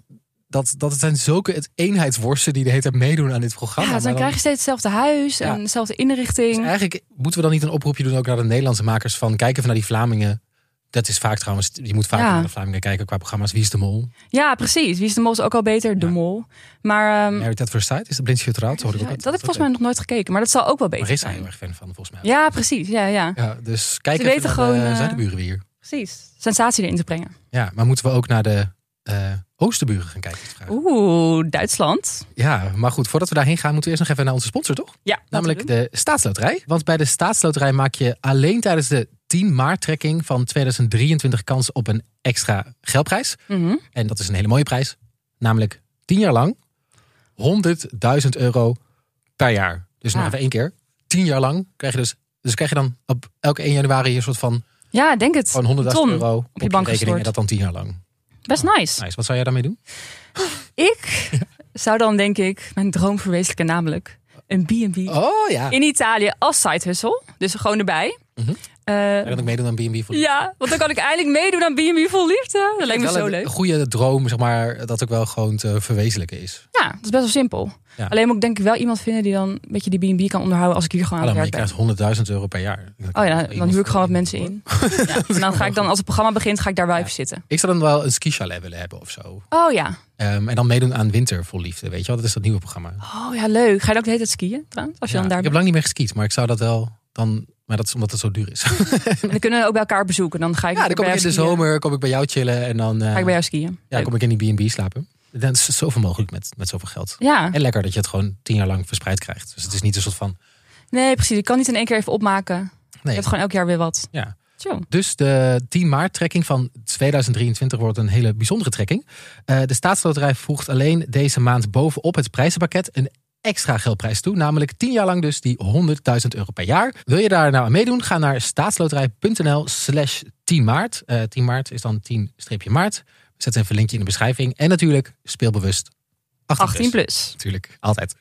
Speaker 2: dat, dat zijn zulke het eenheidsworsten die de hele tijd meedoen aan dit programma.
Speaker 1: Ja,
Speaker 2: nou, Maar
Speaker 1: dan krijg je steeds hetzelfde huis
Speaker 2: Ja.
Speaker 1: en dezelfde
Speaker 2: dus
Speaker 1: inrichting.
Speaker 2: eigenlijk moeten we dan niet een oproepje doen ook naar de Nederlandse makers van kijken even naar die Vlamingen. Dat is vaak trouwens, je moet vaak
Speaker 1: Ja.
Speaker 2: naar de Vlamingen kijken qua programma's. Wie is de mol?
Speaker 1: Ja, precies. Wie is de mol is ook al beter? De mol. Maar ehm,
Speaker 2: Married at First Sight? Is de blindje getrouwd? Hoor ik ook
Speaker 1: dat
Speaker 2: altijd.
Speaker 1: heb ik volgens mij nog nooit gekeken. Maar dat zal ook wel beter
Speaker 2: Marissa heel
Speaker 1: zijn.
Speaker 2: erg fan van, volgens mij.
Speaker 1: Ja, precies. Ja, ja.
Speaker 2: Ja, dus kijk
Speaker 1: Ze
Speaker 2: even
Speaker 1: weten
Speaker 2: naar de-
Speaker 1: gewoon, eh,
Speaker 2: zijn de buren weer.
Speaker 1: Precies. Sensatie erin te brengen.
Speaker 2: Ja, maar moeten we ook naar de eh, Oosterburen gaan kijken? is de vraag.
Speaker 1: Oeh, Duitsland.
Speaker 2: Ja, maar goed, voordat we daarheen gaan, moeten we eerst nog even naar onze sponsor, toch?
Speaker 1: Ja, laten we
Speaker 2: Namelijk
Speaker 1: doen.
Speaker 2: de Staatsloterij. Want bij de Staatsloterij maak je alleen tijdens de 10 maart trekking van 2023 kans op een extra geldprijs.
Speaker 1: Mhm.
Speaker 2: En dat is een hele mooie prijs. Namelijk 10 jaar lang 100.000 euro per jaar. Dus nog
Speaker 1: Ja.
Speaker 2: even één keer. 10 jaar lang krijg je dus. Dus krijg je dan op elke 1 januari een soort van
Speaker 1: Ja, denk het.
Speaker 2: gewoon 100.000
Speaker 1: Ton
Speaker 2: euro op je,
Speaker 1: bank
Speaker 2: rekening.
Speaker 1: gestort.
Speaker 2: En dat dan 10 jaar lang.
Speaker 1: Best nice.
Speaker 2: Nice. Wat zou jij daarmee doen?
Speaker 1: Ik zou dan denk ik mijn droom verwezenlijken. Namelijk een B&B
Speaker 2: Oh ja. Mhm.
Speaker 1: in Italië als side hustle. Dus gewoon erbij. Eh,
Speaker 2: En dat ik meedoen aan B&B voor
Speaker 1: ja, want dan kan ik eindelijk meedoen aan B&B vol liefde. Dat lijkt me
Speaker 2: wel
Speaker 1: zo
Speaker 2: een
Speaker 1: leuk.
Speaker 2: goede droom, zeg maar, dat ook wel gewoon te verwezenlijken is.
Speaker 1: Ja, dat is best wel simpel.
Speaker 2: Ja.
Speaker 1: Alleen moet ik denk ik wel iemand vinden die dan een beetje die B&B kan onderhouden als ik hier gewoon aan
Speaker 2: Hallo,
Speaker 1: het
Speaker 2: maar
Speaker 1: werk
Speaker 2: je
Speaker 1: ben.
Speaker 2: krijgt 100.000 euro per jaar.
Speaker 1: Oh ja, dan huur ik gewoon wat mensen in. Ja, en dan ga ik dan, als het programma begint, ga ik daar blijven zitten.
Speaker 2: Ik zou dan wel een ski-chalet willen hebben of zo.
Speaker 1: Oh ja.
Speaker 2: Ehm, en dan meedoen aan Winter vol Liefde, weet je wel? Dat is dat nieuwe programma. Als
Speaker 1: Oh ja, leuk. Ga je dan ook de hele tijd skiën trouwens? Als je dan daar
Speaker 2: Ik heb
Speaker 1: bent.
Speaker 2: lang niet meer geskiet, maar ik zou dat wel dan... Maar dat is omdat het zo duur is.
Speaker 1: En dan kunnen we ook bij elkaar bezoeken. Dan ga ik,
Speaker 2: ja, dan
Speaker 1: bij
Speaker 2: kom ik
Speaker 1: jou
Speaker 2: in de
Speaker 1: skiën.
Speaker 2: zomer, kom ik bij jou chillen en dan eh,
Speaker 1: Ga ik bij jou skiën.
Speaker 2: ja,
Speaker 1: Leuk.
Speaker 2: kom ik in die B&B slapen. Dat is zoveel mogelijk met, met zoveel geld.
Speaker 1: Ja,
Speaker 2: En lekker dat je het gewoon tien jaar lang verspreid krijgt. Dus het is niet een soort van...
Speaker 1: nee precies. Ik kan niet in één keer even opmaken. Je
Speaker 2: Nee,
Speaker 1: hebt gewoon elk jaar weer wat.
Speaker 2: ja.
Speaker 1: Zo.
Speaker 2: Dus de 10 maart trekking van 2023 wordt een hele bijzondere trekking. Eh, de staatsloterij voegt alleen deze maand bovenop het prijzenpakket een extra geldprijs toe. Namelijk 10 jaar lang dus die 100.000 euro per jaar. Wil je daar nou aan meedoen? Ga naar staatsloterij.nl slash 10 maart. Eh, 10 maart is dan 10 streepje maart. We zetten even een linkje in de beschrijving. En natuurlijk speelbewust 18,
Speaker 1: 18 plus.
Speaker 2: Natuurlijk, altijd.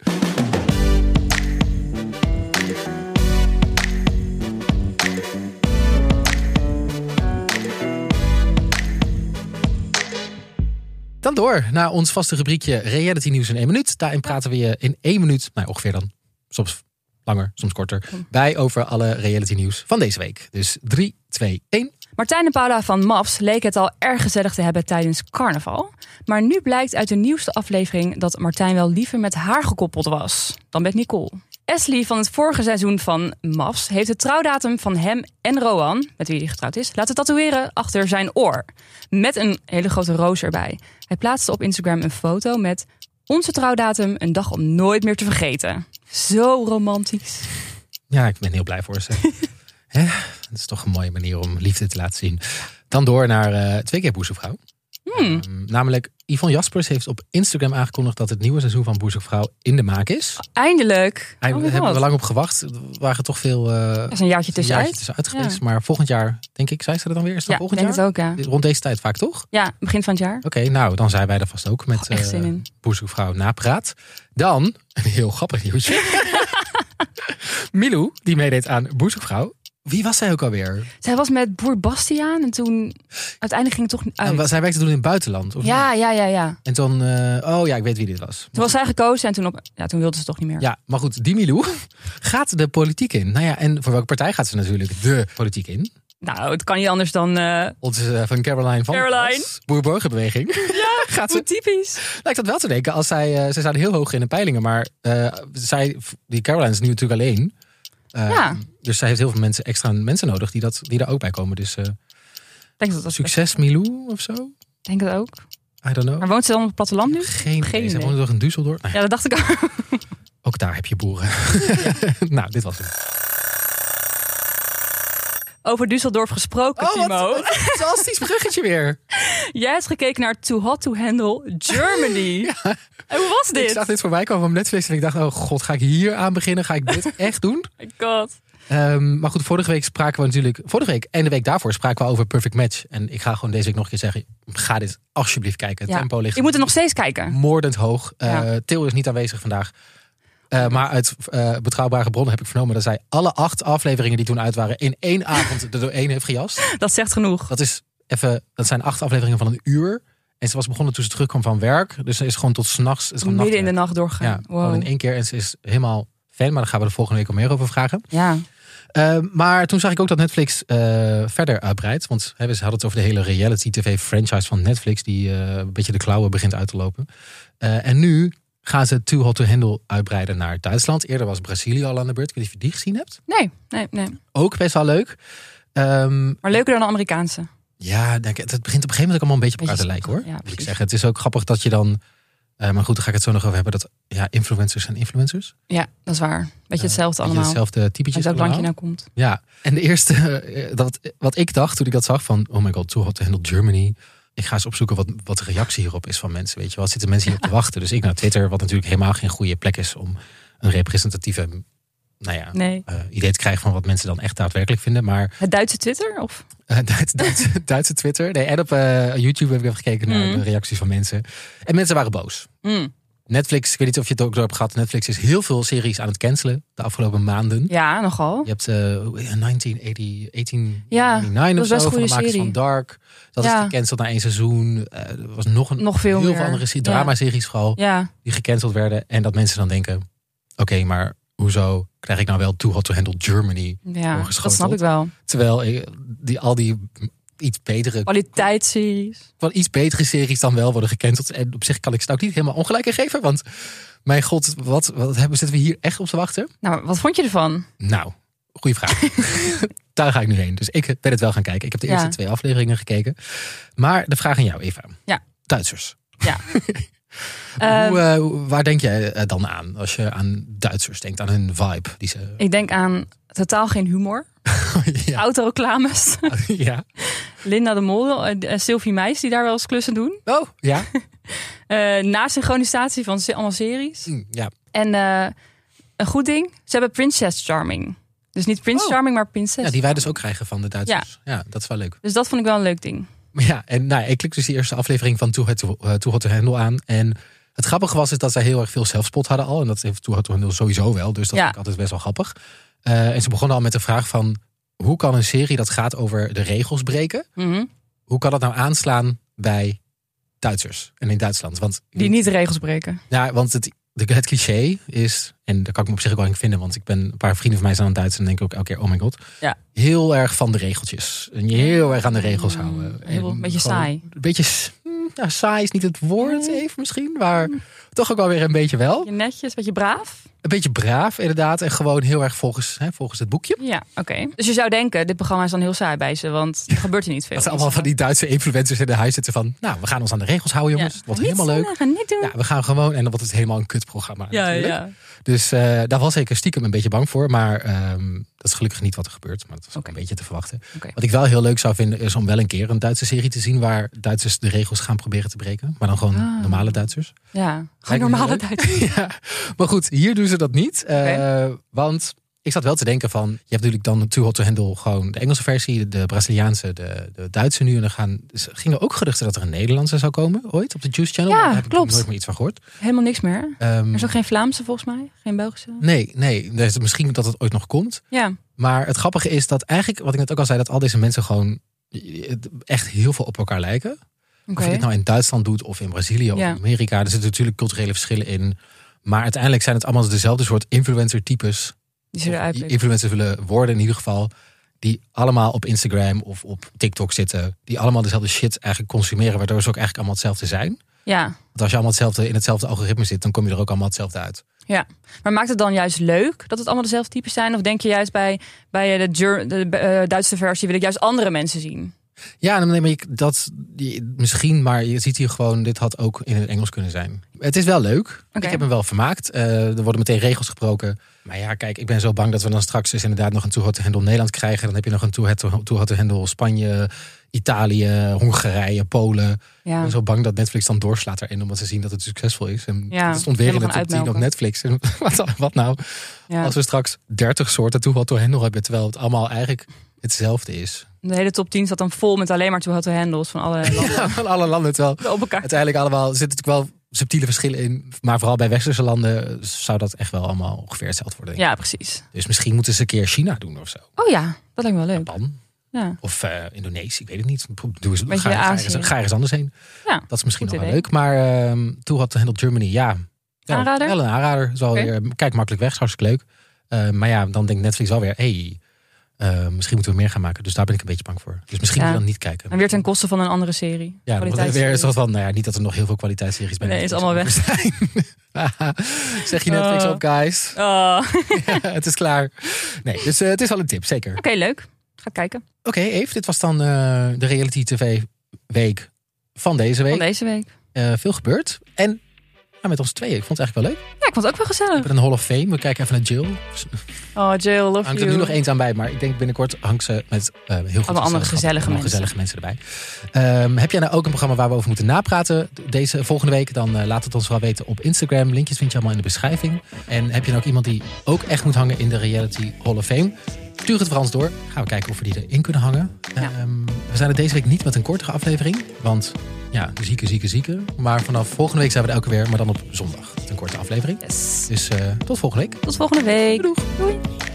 Speaker 2: Dan door naar ons vaste rubriekje Reality Nieuws in één minuut. Daarin praten we je in één minuut, nou ongeveer dan, soms langer, soms korter, bij over alle reality nieuws van deze week. Dus 3, 2, 1.
Speaker 1: Martijn en Paula van MAPS leken het al erg gezellig te hebben tijdens carnaval. Maar nu blijkt uit de nieuwste aflevering dat Martijn wel liever met haar gekoppeld was dan met Nicole. Ashley van het vorige seizoen van MAFS heeft de trouwdatum van hem en Roan, met wie hij getrouwd is, laten tatoeëren achter zijn oor. Met een hele grote roos erbij. Hij plaatste op Instagram een foto met onze trouwdatum, een dag om nooit meer te vergeten. Zo romantisch.
Speaker 2: Ja, ik ben heel blij voor ze. Hè? Dat is toch een mooie manier om liefde te laten zien. Dan door naar eh, twee keer boezemvrouw.
Speaker 1: Hmm,
Speaker 2: Ehm, namelijk, Yvonne Jaspers heeft op Instagram aangekondigd dat het nieuwe seizoen van Boezekvrouw in de maak
Speaker 1: Oh,
Speaker 2: is.
Speaker 1: Eindelijk.
Speaker 2: Daar
Speaker 1: Oh my
Speaker 2: hebben we
Speaker 1: God.
Speaker 2: lang op gewacht. Er waren toch veel... eh,
Speaker 1: Er is een jaartje
Speaker 2: een jaartje
Speaker 1: tussenuit.
Speaker 2: tussenuit
Speaker 1: Ja.
Speaker 2: geweest. Maar volgend jaar, denk ik, zijn ze er dan weer? Is dat
Speaker 1: Ja, ik
Speaker 2: volgend
Speaker 1: denk het
Speaker 2: jaar?
Speaker 1: ook, ja.
Speaker 2: Rond deze tijd vaak, toch?
Speaker 1: Ja, begin van het jaar.
Speaker 2: Oké, nou, dan zijn wij er vast ook met
Speaker 1: Oh, echt zin
Speaker 2: eh,
Speaker 1: in.
Speaker 2: Boezekvrouw napraat. Dan, een heel grappig nieuwtje. Milou, die meedeed aan Boezekvrouw. Wie was zij ook alweer?
Speaker 1: Zij was met boer Bastiaan en toen uiteindelijk ging het toch niet
Speaker 2: En wa-
Speaker 1: uit.
Speaker 2: zij werkte toen in het buitenland. Of niet?
Speaker 1: Oh. Ja, ja, ja, ja.
Speaker 2: En toen, eh, oh ja, ik weet wie dit was.
Speaker 1: Toen was zij gekozen en toen, op, ja, toen wilde ze toch niet meer.
Speaker 2: Ja, maar goed, die Milou gaat de politiek in. Nou ja, en voor welke partij gaat ze natuurlijk de politiek in?
Speaker 1: Nou, het kan niet anders dan... eh
Speaker 2: Onze eh, van Caroline van der
Speaker 1: Caroline.
Speaker 2: Plas, Boer-Burgerbeweging.
Speaker 1: gaat ze typisch.
Speaker 2: Lijkt dat wel te denken. Als zij, eh, zij staan heel hoog in de peilingen, maar eh, zij, die Caroline is nu natuurlijk alleen. Eh,
Speaker 1: Ja.
Speaker 2: Dus zij heeft heel veel mensen, extra mensen nodig die, dat, die daar ook bij komen. Dus eh,
Speaker 1: Ik denk dat dat
Speaker 2: succes Oh. Milou of zo?
Speaker 1: Ik denk het ook.
Speaker 2: I don't
Speaker 1: Maar
Speaker 2: know.
Speaker 1: woont ze dan op het platteland nu?
Speaker 2: Geen,
Speaker 1: geen
Speaker 2: idee. Ze
Speaker 1: idee.
Speaker 2: woont toch in Düsseldorf? Nou ja,
Speaker 1: Ja, dat dacht ik ook.
Speaker 2: ook daar heb je boeren. nou, dit was het.
Speaker 1: Over Düsseldorf gesproken,
Speaker 2: Oh,
Speaker 1: Timo.
Speaker 2: een fantastisch bruggetje weer.
Speaker 1: Jij hebt gekeken naar Too Hot to Handle Germany. En hoe was dit?
Speaker 2: Ik zag dit voorbij komen op Netflix en ik dacht, oh god, ga ik hier aan beginnen? Ga ik dit echt doen?
Speaker 1: Oh My God.
Speaker 2: Ehm, maar goed, vorige week spraken we natuurlijk. Vorige week en de week daarvoor spraken we over Perfect Match. En ik ga gewoon deze week nog een keer zeggen: ga dit alsjeblieft kijken. Het
Speaker 1: Ja.
Speaker 2: tempo ligt
Speaker 1: Ik moet het nog steeds kijken.
Speaker 2: moordend hoog. Eh
Speaker 1: Ja.
Speaker 2: Til is niet aanwezig vandaag. Eh, maar uit eh, betrouwbare bronnen heb ik vernomen dat zij alle acht afleveringen die toen uit waren in één avond er doorheen heeft gejast.
Speaker 1: Dat zegt genoeg.
Speaker 2: Dat, is even, dat zijn acht afleveringen van een uur. En ze was begonnen toen ze terugkwam van werk. Dus ze is gewoon tot s'nachts.
Speaker 1: Midden in de nacht doorgaan.
Speaker 2: Ja,
Speaker 1: Wow.
Speaker 2: gewoon in één keer. En ze is helemaal fan. Maar daar gaan we de volgende week al meer over vragen.
Speaker 1: Ja.
Speaker 2: Eh, maar toen zag ik ook dat Netflix eh, verder uitbreidt. Want hè, we hadden het over de hele reality tv-franchise van Netflix... die eh, een beetje de klauwen begint uit te lopen. Eh, en nu gaan ze Too Hot To Handle uitbreiden naar Duitsland. Eerder was Brazilië al aan de beurt. Ik weet niet of je die gezien hebt.
Speaker 1: Nee, nee, nee.
Speaker 2: Ook best wel leuk. Ehm,
Speaker 1: Maar leuker dan de Amerikaanse.
Speaker 2: ja, denk, het het begint op een gegeven moment ook allemaal een beetje op elkaar te
Speaker 1: Beetje
Speaker 2: lijken hoor.
Speaker 1: ja,
Speaker 2: moet ik
Speaker 1: precies.
Speaker 2: zeggen. Het is ook grappig dat je dan... eh, maar goed, daar ga ik het zo nog over hebben. Dat ja, influencers zijn influencers.
Speaker 1: Ja, dat is waar. Beetje
Speaker 2: Eh,
Speaker 1: hetzelfde
Speaker 2: Beetje
Speaker 1: allemaal.
Speaker 2: Hetzelfde typetjes
Speaker 1: Uit welk
Speaker 2: allemaal.
Speaker 1: landje nou komt.
Speaker 2: Ja, en de eerste, eh, dat, wat ik dacht toen ik dat zag van, oh my god, Too Hot to Handle Germany. Ik ga eens opzoeken wat, wat de reactie hierop is van mensen. Weet je wel, zitten mensen hierop te wachten? Dus ik naar Twitter, wat natuurlijk helemaal geen goede plek is om een representatieve nou ja,
Speaker 1: Nee.
Speaker 2: eh, idee te krijgen van wat mensen dan echt daadwerkelijk vinden. Maar
Speaker 1: Het Duitse Twitter? Of?
Speaker 2: eh, Duits- Duits- Duitse Twitter, nee, en op eh, YouTube heb ik even gekeken naar
Speaker 1: Mm.
Speaker 2: de reacties van mensen. En mensen waren boos.
Speaker 1: Mm.
Speaker 2: Netflix, ik weet niet of je het ook door hebt gehad. Netflix is heel veel series aan het cancelen de afgelopen maanden.
Speaker 1: Ja, nogal.
Speaker 2: Je hebt eh 1980, 1899
Speaker 1: Ja, dat
Speaker 2: of
Speaker 1: is best
Speaker 2: zo,
Speaker 1: een
Speaker 2: van de
Speaker 1: goede
Speaker 2: makers
Speaker 1: serie.
Speaker 2: van Dark. Dat
Speaker 1: Ja.
Speaker 2: is gecanceld na één seizoen. Eh, er was nog, een,
Speaker 1: Nog veel
Speaker 2: heel
Speaker 1: meer.
Speaker 2: veel andere series,
Speaker 1: Ja.
Speaker 2: drama-series vooral,
Speaker 1: Ja,
Speaker 2: die gecanceld werden. En dat mensen dan denken, oké, maar hoezo krijg ik nou wel Too Hot To Handle Germany?
Speaker 1: ja dat
Speaker 2: Doorgeschoteld.
Speaker 1: snap ik wel.
Speaker 2: Terwijl eh, die, al die iets betere,
Speaker 1: Kwaliteitsseries.
Speaker 2: wel iets betere series dan wel worden gecanceld. En op zich kan ik ze nou ook niet helemaal ongelijk in geven. Want mijn god, wat, wat hebben, zitten we hier echt op te wachten?
Speaker 1: Nou, wat vond je ervan?
Speaker 2: Nou, goede vraag. Daar ga ik nu heen. Dus ik ben het wel gaan kijken. Ik heb de eerste
Speaker 1: Ja.
Speaker 2: twee afleveringen gekeken. Maar de vraag aan jou, Eva.
Speaker 1: Ja.
Speaker 2: Duitsers.
Speaker 1: Ehm,
Speaker 2: Hoe, eh, hoe- waar denk jij eh, dan aan als je aan Duitsers denkt? Aan hun vibe. Die ze...
Speaker 1: ik denk aan totaal geen humor.
Speaker 2: ja.
Speaker 1: Autoreclames.
Speaker 2: ja.
Speaker 1: Linda de Mol eh, en Sylvie Meis die daar wel eens klussen doen.
Speaker 2: Oh, ja.
Speaker 1: Eh na synchronisatie van se- allemaal series.
Speaker 2: Hm, ja.
Speaker 1: En eh, een goed ding, ze hebben Princess Charming. Dus niet Prince
Speaker 2: Oh.
Speaker 1: Charming, maar Princess.
Speaker 2: ja. Die wij dus ook krijgen van de Duitsers. Ja, dat is wel leuk.
Speaker 1: Dus dat vond ik wel een leuk ding.
Speaker 2: Maar ja, en nou, ja, ik klik dus die eerste aflevering van Too Hot to, eh, Too Hot to Handle aan. En het grappige was is dat zij heel erg veel zelfspot hadden al. En dat heeft Too Hot to Handle sowieso wel. Dus dat
Speaker 1: Ja.
Speaker 2: vind ik altijd best wel grappig. Eh, en ze begonnen al met de vraag van... hoe kan een serie dat gaat over de regels breken...
Speaker 1: Mhm.
Speaker 2: hoe kan dat nou aanslaan bij Duitsers en in Duitsland? Want,
Speaker 1: Die niet de regels breken.
Speaker 2: Ja, want het, de, het cliché is... en daar kan ik me op zich ook wel in vinden... want ik ben een paar vrienden van mij zijn aan het Duits... en denk ik ook elke keer, oh my god...
Speaker 1: Ja.
Speaker 2: heel erg van de regeltjes. En je heel erg aan de regels
Speaker 1: Mm,
Speaker 2: houden.
Speaker 1: heel
Speaker 2: En
Speaker 1: een beetje
Speaker 2: gewoon-
Speaker 1: saai.
Speaker 2: een beetje s- mm, nou, saai is niet het woord even misschien, maar toch ook wel weer een beetje wel.
Speaker 1: Je netjes, beetje braaf.
Speaker 2: Een beetje braaf, inderdaad. En gewoon heel erg volgens, hè, volgens het boekje.
Speaker 1: Ja, oké. Dus je zou denken, dit programma is dan heel saai bij ze, want er gebeurt er niet veel.
Speaker 2: Dat ze allemaal van die Duitse influencers in de huis zitten van... Nou, we gaan ons aan de regels houden, jongens.
Speaker 1: Ja.
Speaker 2: Wordt
Speaker 1: Niet
Speaker 2: helemaal leuk.
Speaker 1: zondigen, niet doen.
Speaker 2: Ja, we gaan gewoon... En dan wordt het helemaal een kutprogramma
Speaker 1: Ja,
Speaker 2: natuurlijk.
Speaker 1: ja.
Speaker 2: Dus eh, daar was ik stiekem een beetje bang voor. Maar ehm, dat is gelukkig niet wat er gebeurt. Maar dat was ook
Speaker 1: Oké.
Speaker 2: een beetje te verwachten.
Speaker 1: Oké.
Speaker 2: Wat ik wel heel leuk zou vinden, is om wel een keer een Duitse serie te zien... waar Duitsers de regels gaan proberen te breken. Maar dan gewoon
Speaker 1: Ah.
Speaker 2: normale Duitsers.
Speaker 1: Ja,
Speaker 2: me
Speaker 1: gewoon normale
Speaker 2: heel
Speaker 1: tijd.
Speaker 2: Ja, maar goed, hier doen ze dat niet. Eh, Want ik zat wel te denken van... Je hebt natuurlijk dan Too Hot to Handle gewoon de Engelse versie... de Braziliaanse, de, de Duitse nu. En dan gaan, dus gingen ook geruchten dat er een Nederlandse zou komen ooit op de Juice Channel.
Speaker 1: Ja,
Speaker 2: maar daar heb ik
Speaker 1: klopt.
Speaker 2: nooit meer iets van gehoord.
Speaker 1: Helemaal niks meer.
Speaker 2: Ehm,
Speaker 1: Er is ook geen Vlaamse volgens mij, geen Belgische.
Speaker 2: Nee, nee. Dus misschien dat het ooit nog komt.
Speaker 1: Ja,
Speaker 2: Maar het grappige is dat eigenlijk, wat ik net ook al zei... dat al deze mensen gewoon eh, echt heel veel op elkaar lijken.
Speaker 1: oké.
Speaker 2: Of je dit nou in Duitsland doet of in Brazilië of
Speaker 1: Ja.
Speaker 2: in Amerika. Er zitten natuurlijk culturele verschillen in. Maar uiteindelijk zijn het allemaal dezelfde soort influencer-types.
Speaker 1: Die
Speaker 2: Of
Speaker 1: zullen
Speaker 2: Die
Speaker 1: uitblikken.
Speaker 2: influencer willen worden in ieder geval. Die allemaal op Instagram of op TikTok zitten. Die allemaal dezelfde shit eigenlijk consumeren. Waardoor ze ook eigenlijk allemaal hetzelfde zijn.
Speaker 1: Ja,
Speaker 2: Want als je allemaal hetzelfde, in hetzelfde algoritme zit, dan kom je er ook allemaal hetzelfde uit.
Speaker 1: ja. Maar maakt het dan juist leuk dat het allemaal dezelfde types zijn? Of denk je juist bij, bij de, jur- de eh, Duitse versie wil ik juist andere mensen zien?
Speaker 2: Ja, nee, maar ik, dat die- misschien, maar je ziet hier gewoon, dit had ook in het Engels kunnen zijn. Het is wel leuk.
Speaker 1: Oké.
Speaker 2: Ik heb hem wel vermaakt. Eh, er worden meteen regels gebroken. Maar ja, kijk, ik ben zo bang dat we dan straks dus inderdaad nog een Too Hot to Handle Nederland krijgen. Dan heb je nog een Too Hot to- Too Hot to Handle Spanje, Italië, Hongarije, Polen. Ik
Speaker 1: Ja.
Speaker 2: ben zo bang dat Netflix dan doorslaat erin, omdat ze zien dat het succesvol is. En
Speaker 1: Ja,
Speaker 2: het stond weer in de
Speaker 1: helemaal
Speaker 2: top 10
Speaker 1: uitmelken.
Speaker 2: op Netflix. En wat, dan- wat nou
Speaker 1: ja.
Speaker 2: als we straks 30 soorten Too Hot to Handle hebben, terwijl het allemaal eigenlijk hetzelfde is.
Speaker 1: De hele top 10 zat dan vol met alleen maar to-hot handles van alle landen
Speaker 2: Ja, van alle landen, terwijl
Speaker 1: op elkaar.
Speaker 2: uiteindelijk allemaal er zitten natuurlijk wel subtiele verschillen in. Maar vooral bij westerse landen zou dat echt wel allemaal ongeveer hetzelfde worden. denk ik.
Speaker 1: Ja, precies.
Speaker 2: Dus misschien moeten ze een keer China doen of zo.
Speaker 1: Oh ja, dat lijkt me wel leuk.
Speaker 2: Japan.
Speaker 1: Ja.
Speaker 2: Of eh, Indonesië, ik weet het niet. Doe eens,
Speaker 1: Beetje
Speaker 2: ga, ga,
Speaker 1: Azië.
Speaker 2: ergens, ga ergens anders heen.
Speaker 1: Ja,
Speaker 2: Dat is misschien
Speaker 1: goed
Speaker 2: nog wel
Speaker 1: idee.
Speaker 2: leuk. Maar ehm toen had de Handel Germany, ja. ja
Speaker 1: Aanrader?
Speaker 2: Wel een aanrader. Is wel
Speaker 1: Oké.
Speaker 2: weer, kijk makkelijk weg, is hartstikke leuk. Eh, maar ja, dan denkt Netflix alweer, hé, hey, eh, misschien moeten we meer gaan maken. Dus daar ben ik een beetje bang voor. Dus misschien
Speaker 1: Ja.
Speaker 2: moet je dan niet kijken.
Speaker 1: En weer ten koste van een andere serie.
Speaker 2: Ja, dan wordt het weer
Speaker 1: Kwaliteitsserie.
Speaker 2: is dat van, nou ja, niet dat er nog heel veel kwaliteitsseries bij
Speaker 1: Nee, is
Speaker 2: Netflix
Speaker 1: allemaal weg.
Speaker 2: over zijn. zeg je Netflix
Speaker 1: Oh.
Speaker 2: op, guys.
Speaker 1: Oh, Oké,
Speaker 2: het is klaar. Nee, dus eh, het is wel een tip, zeker. Oké,
Speaker 1: leuk. Ga kijken.
Speaker 2: Eve, dit was dan eh, de reality tv week van deze week.
Speaker 1: Van deze week.
Speaker 2: Eh, veel gebeurd. En ja, met ons tweeën, ik vond het eigenlijk wel leuk.
Speaker 1: Ja, ik vond het ook wel
Speaker 2: We
Speaker 1: gezellig.
Speaker 2: hebben een Hall of Fame, we kijken even naar Jill.
Speaker 1: Oh, Jill, love
Speaker 2: hangt er
Speaker 1: you.
Speaker 2: nu nog eens aan bij, maar ik denk binnenkort hangt ze met eh, heel goed
Speaker 1: andere
Speaker 2: gezelschap.
Speaker 1: gezellige mensen.
Speaker 2: Allemaal gezellige mensen erbij. Ehm, heb jij nou ook een programma waar we over moeten napraten deze volgende week? Dan eh, laat het ons wel weten op Instagram. Linkjes vind je allemaal in de beschrijving. En heb je nou ook iemand die ook echt moet hangen in de Reality Hall of Fame? Stuur het Frans door. Gaan we kijken of we die erin kunnen hangen.
Speaker 1: Ja.
Speaker 2: Ehm, we zijn er deze week niet met een kortere aflevering. Want ja, zieke, zieke, zieke. Maar vanaf volgende week zijn we er elke weer. Maar dan op zondag. Met Een korte aflevering.
Speaker 1: Yes.
Speaker 2: Dus eh, tot volgende week.
Speaker 1: Tot volgende week.
Speaker 2: Doeg.
Speaker 1: Doei.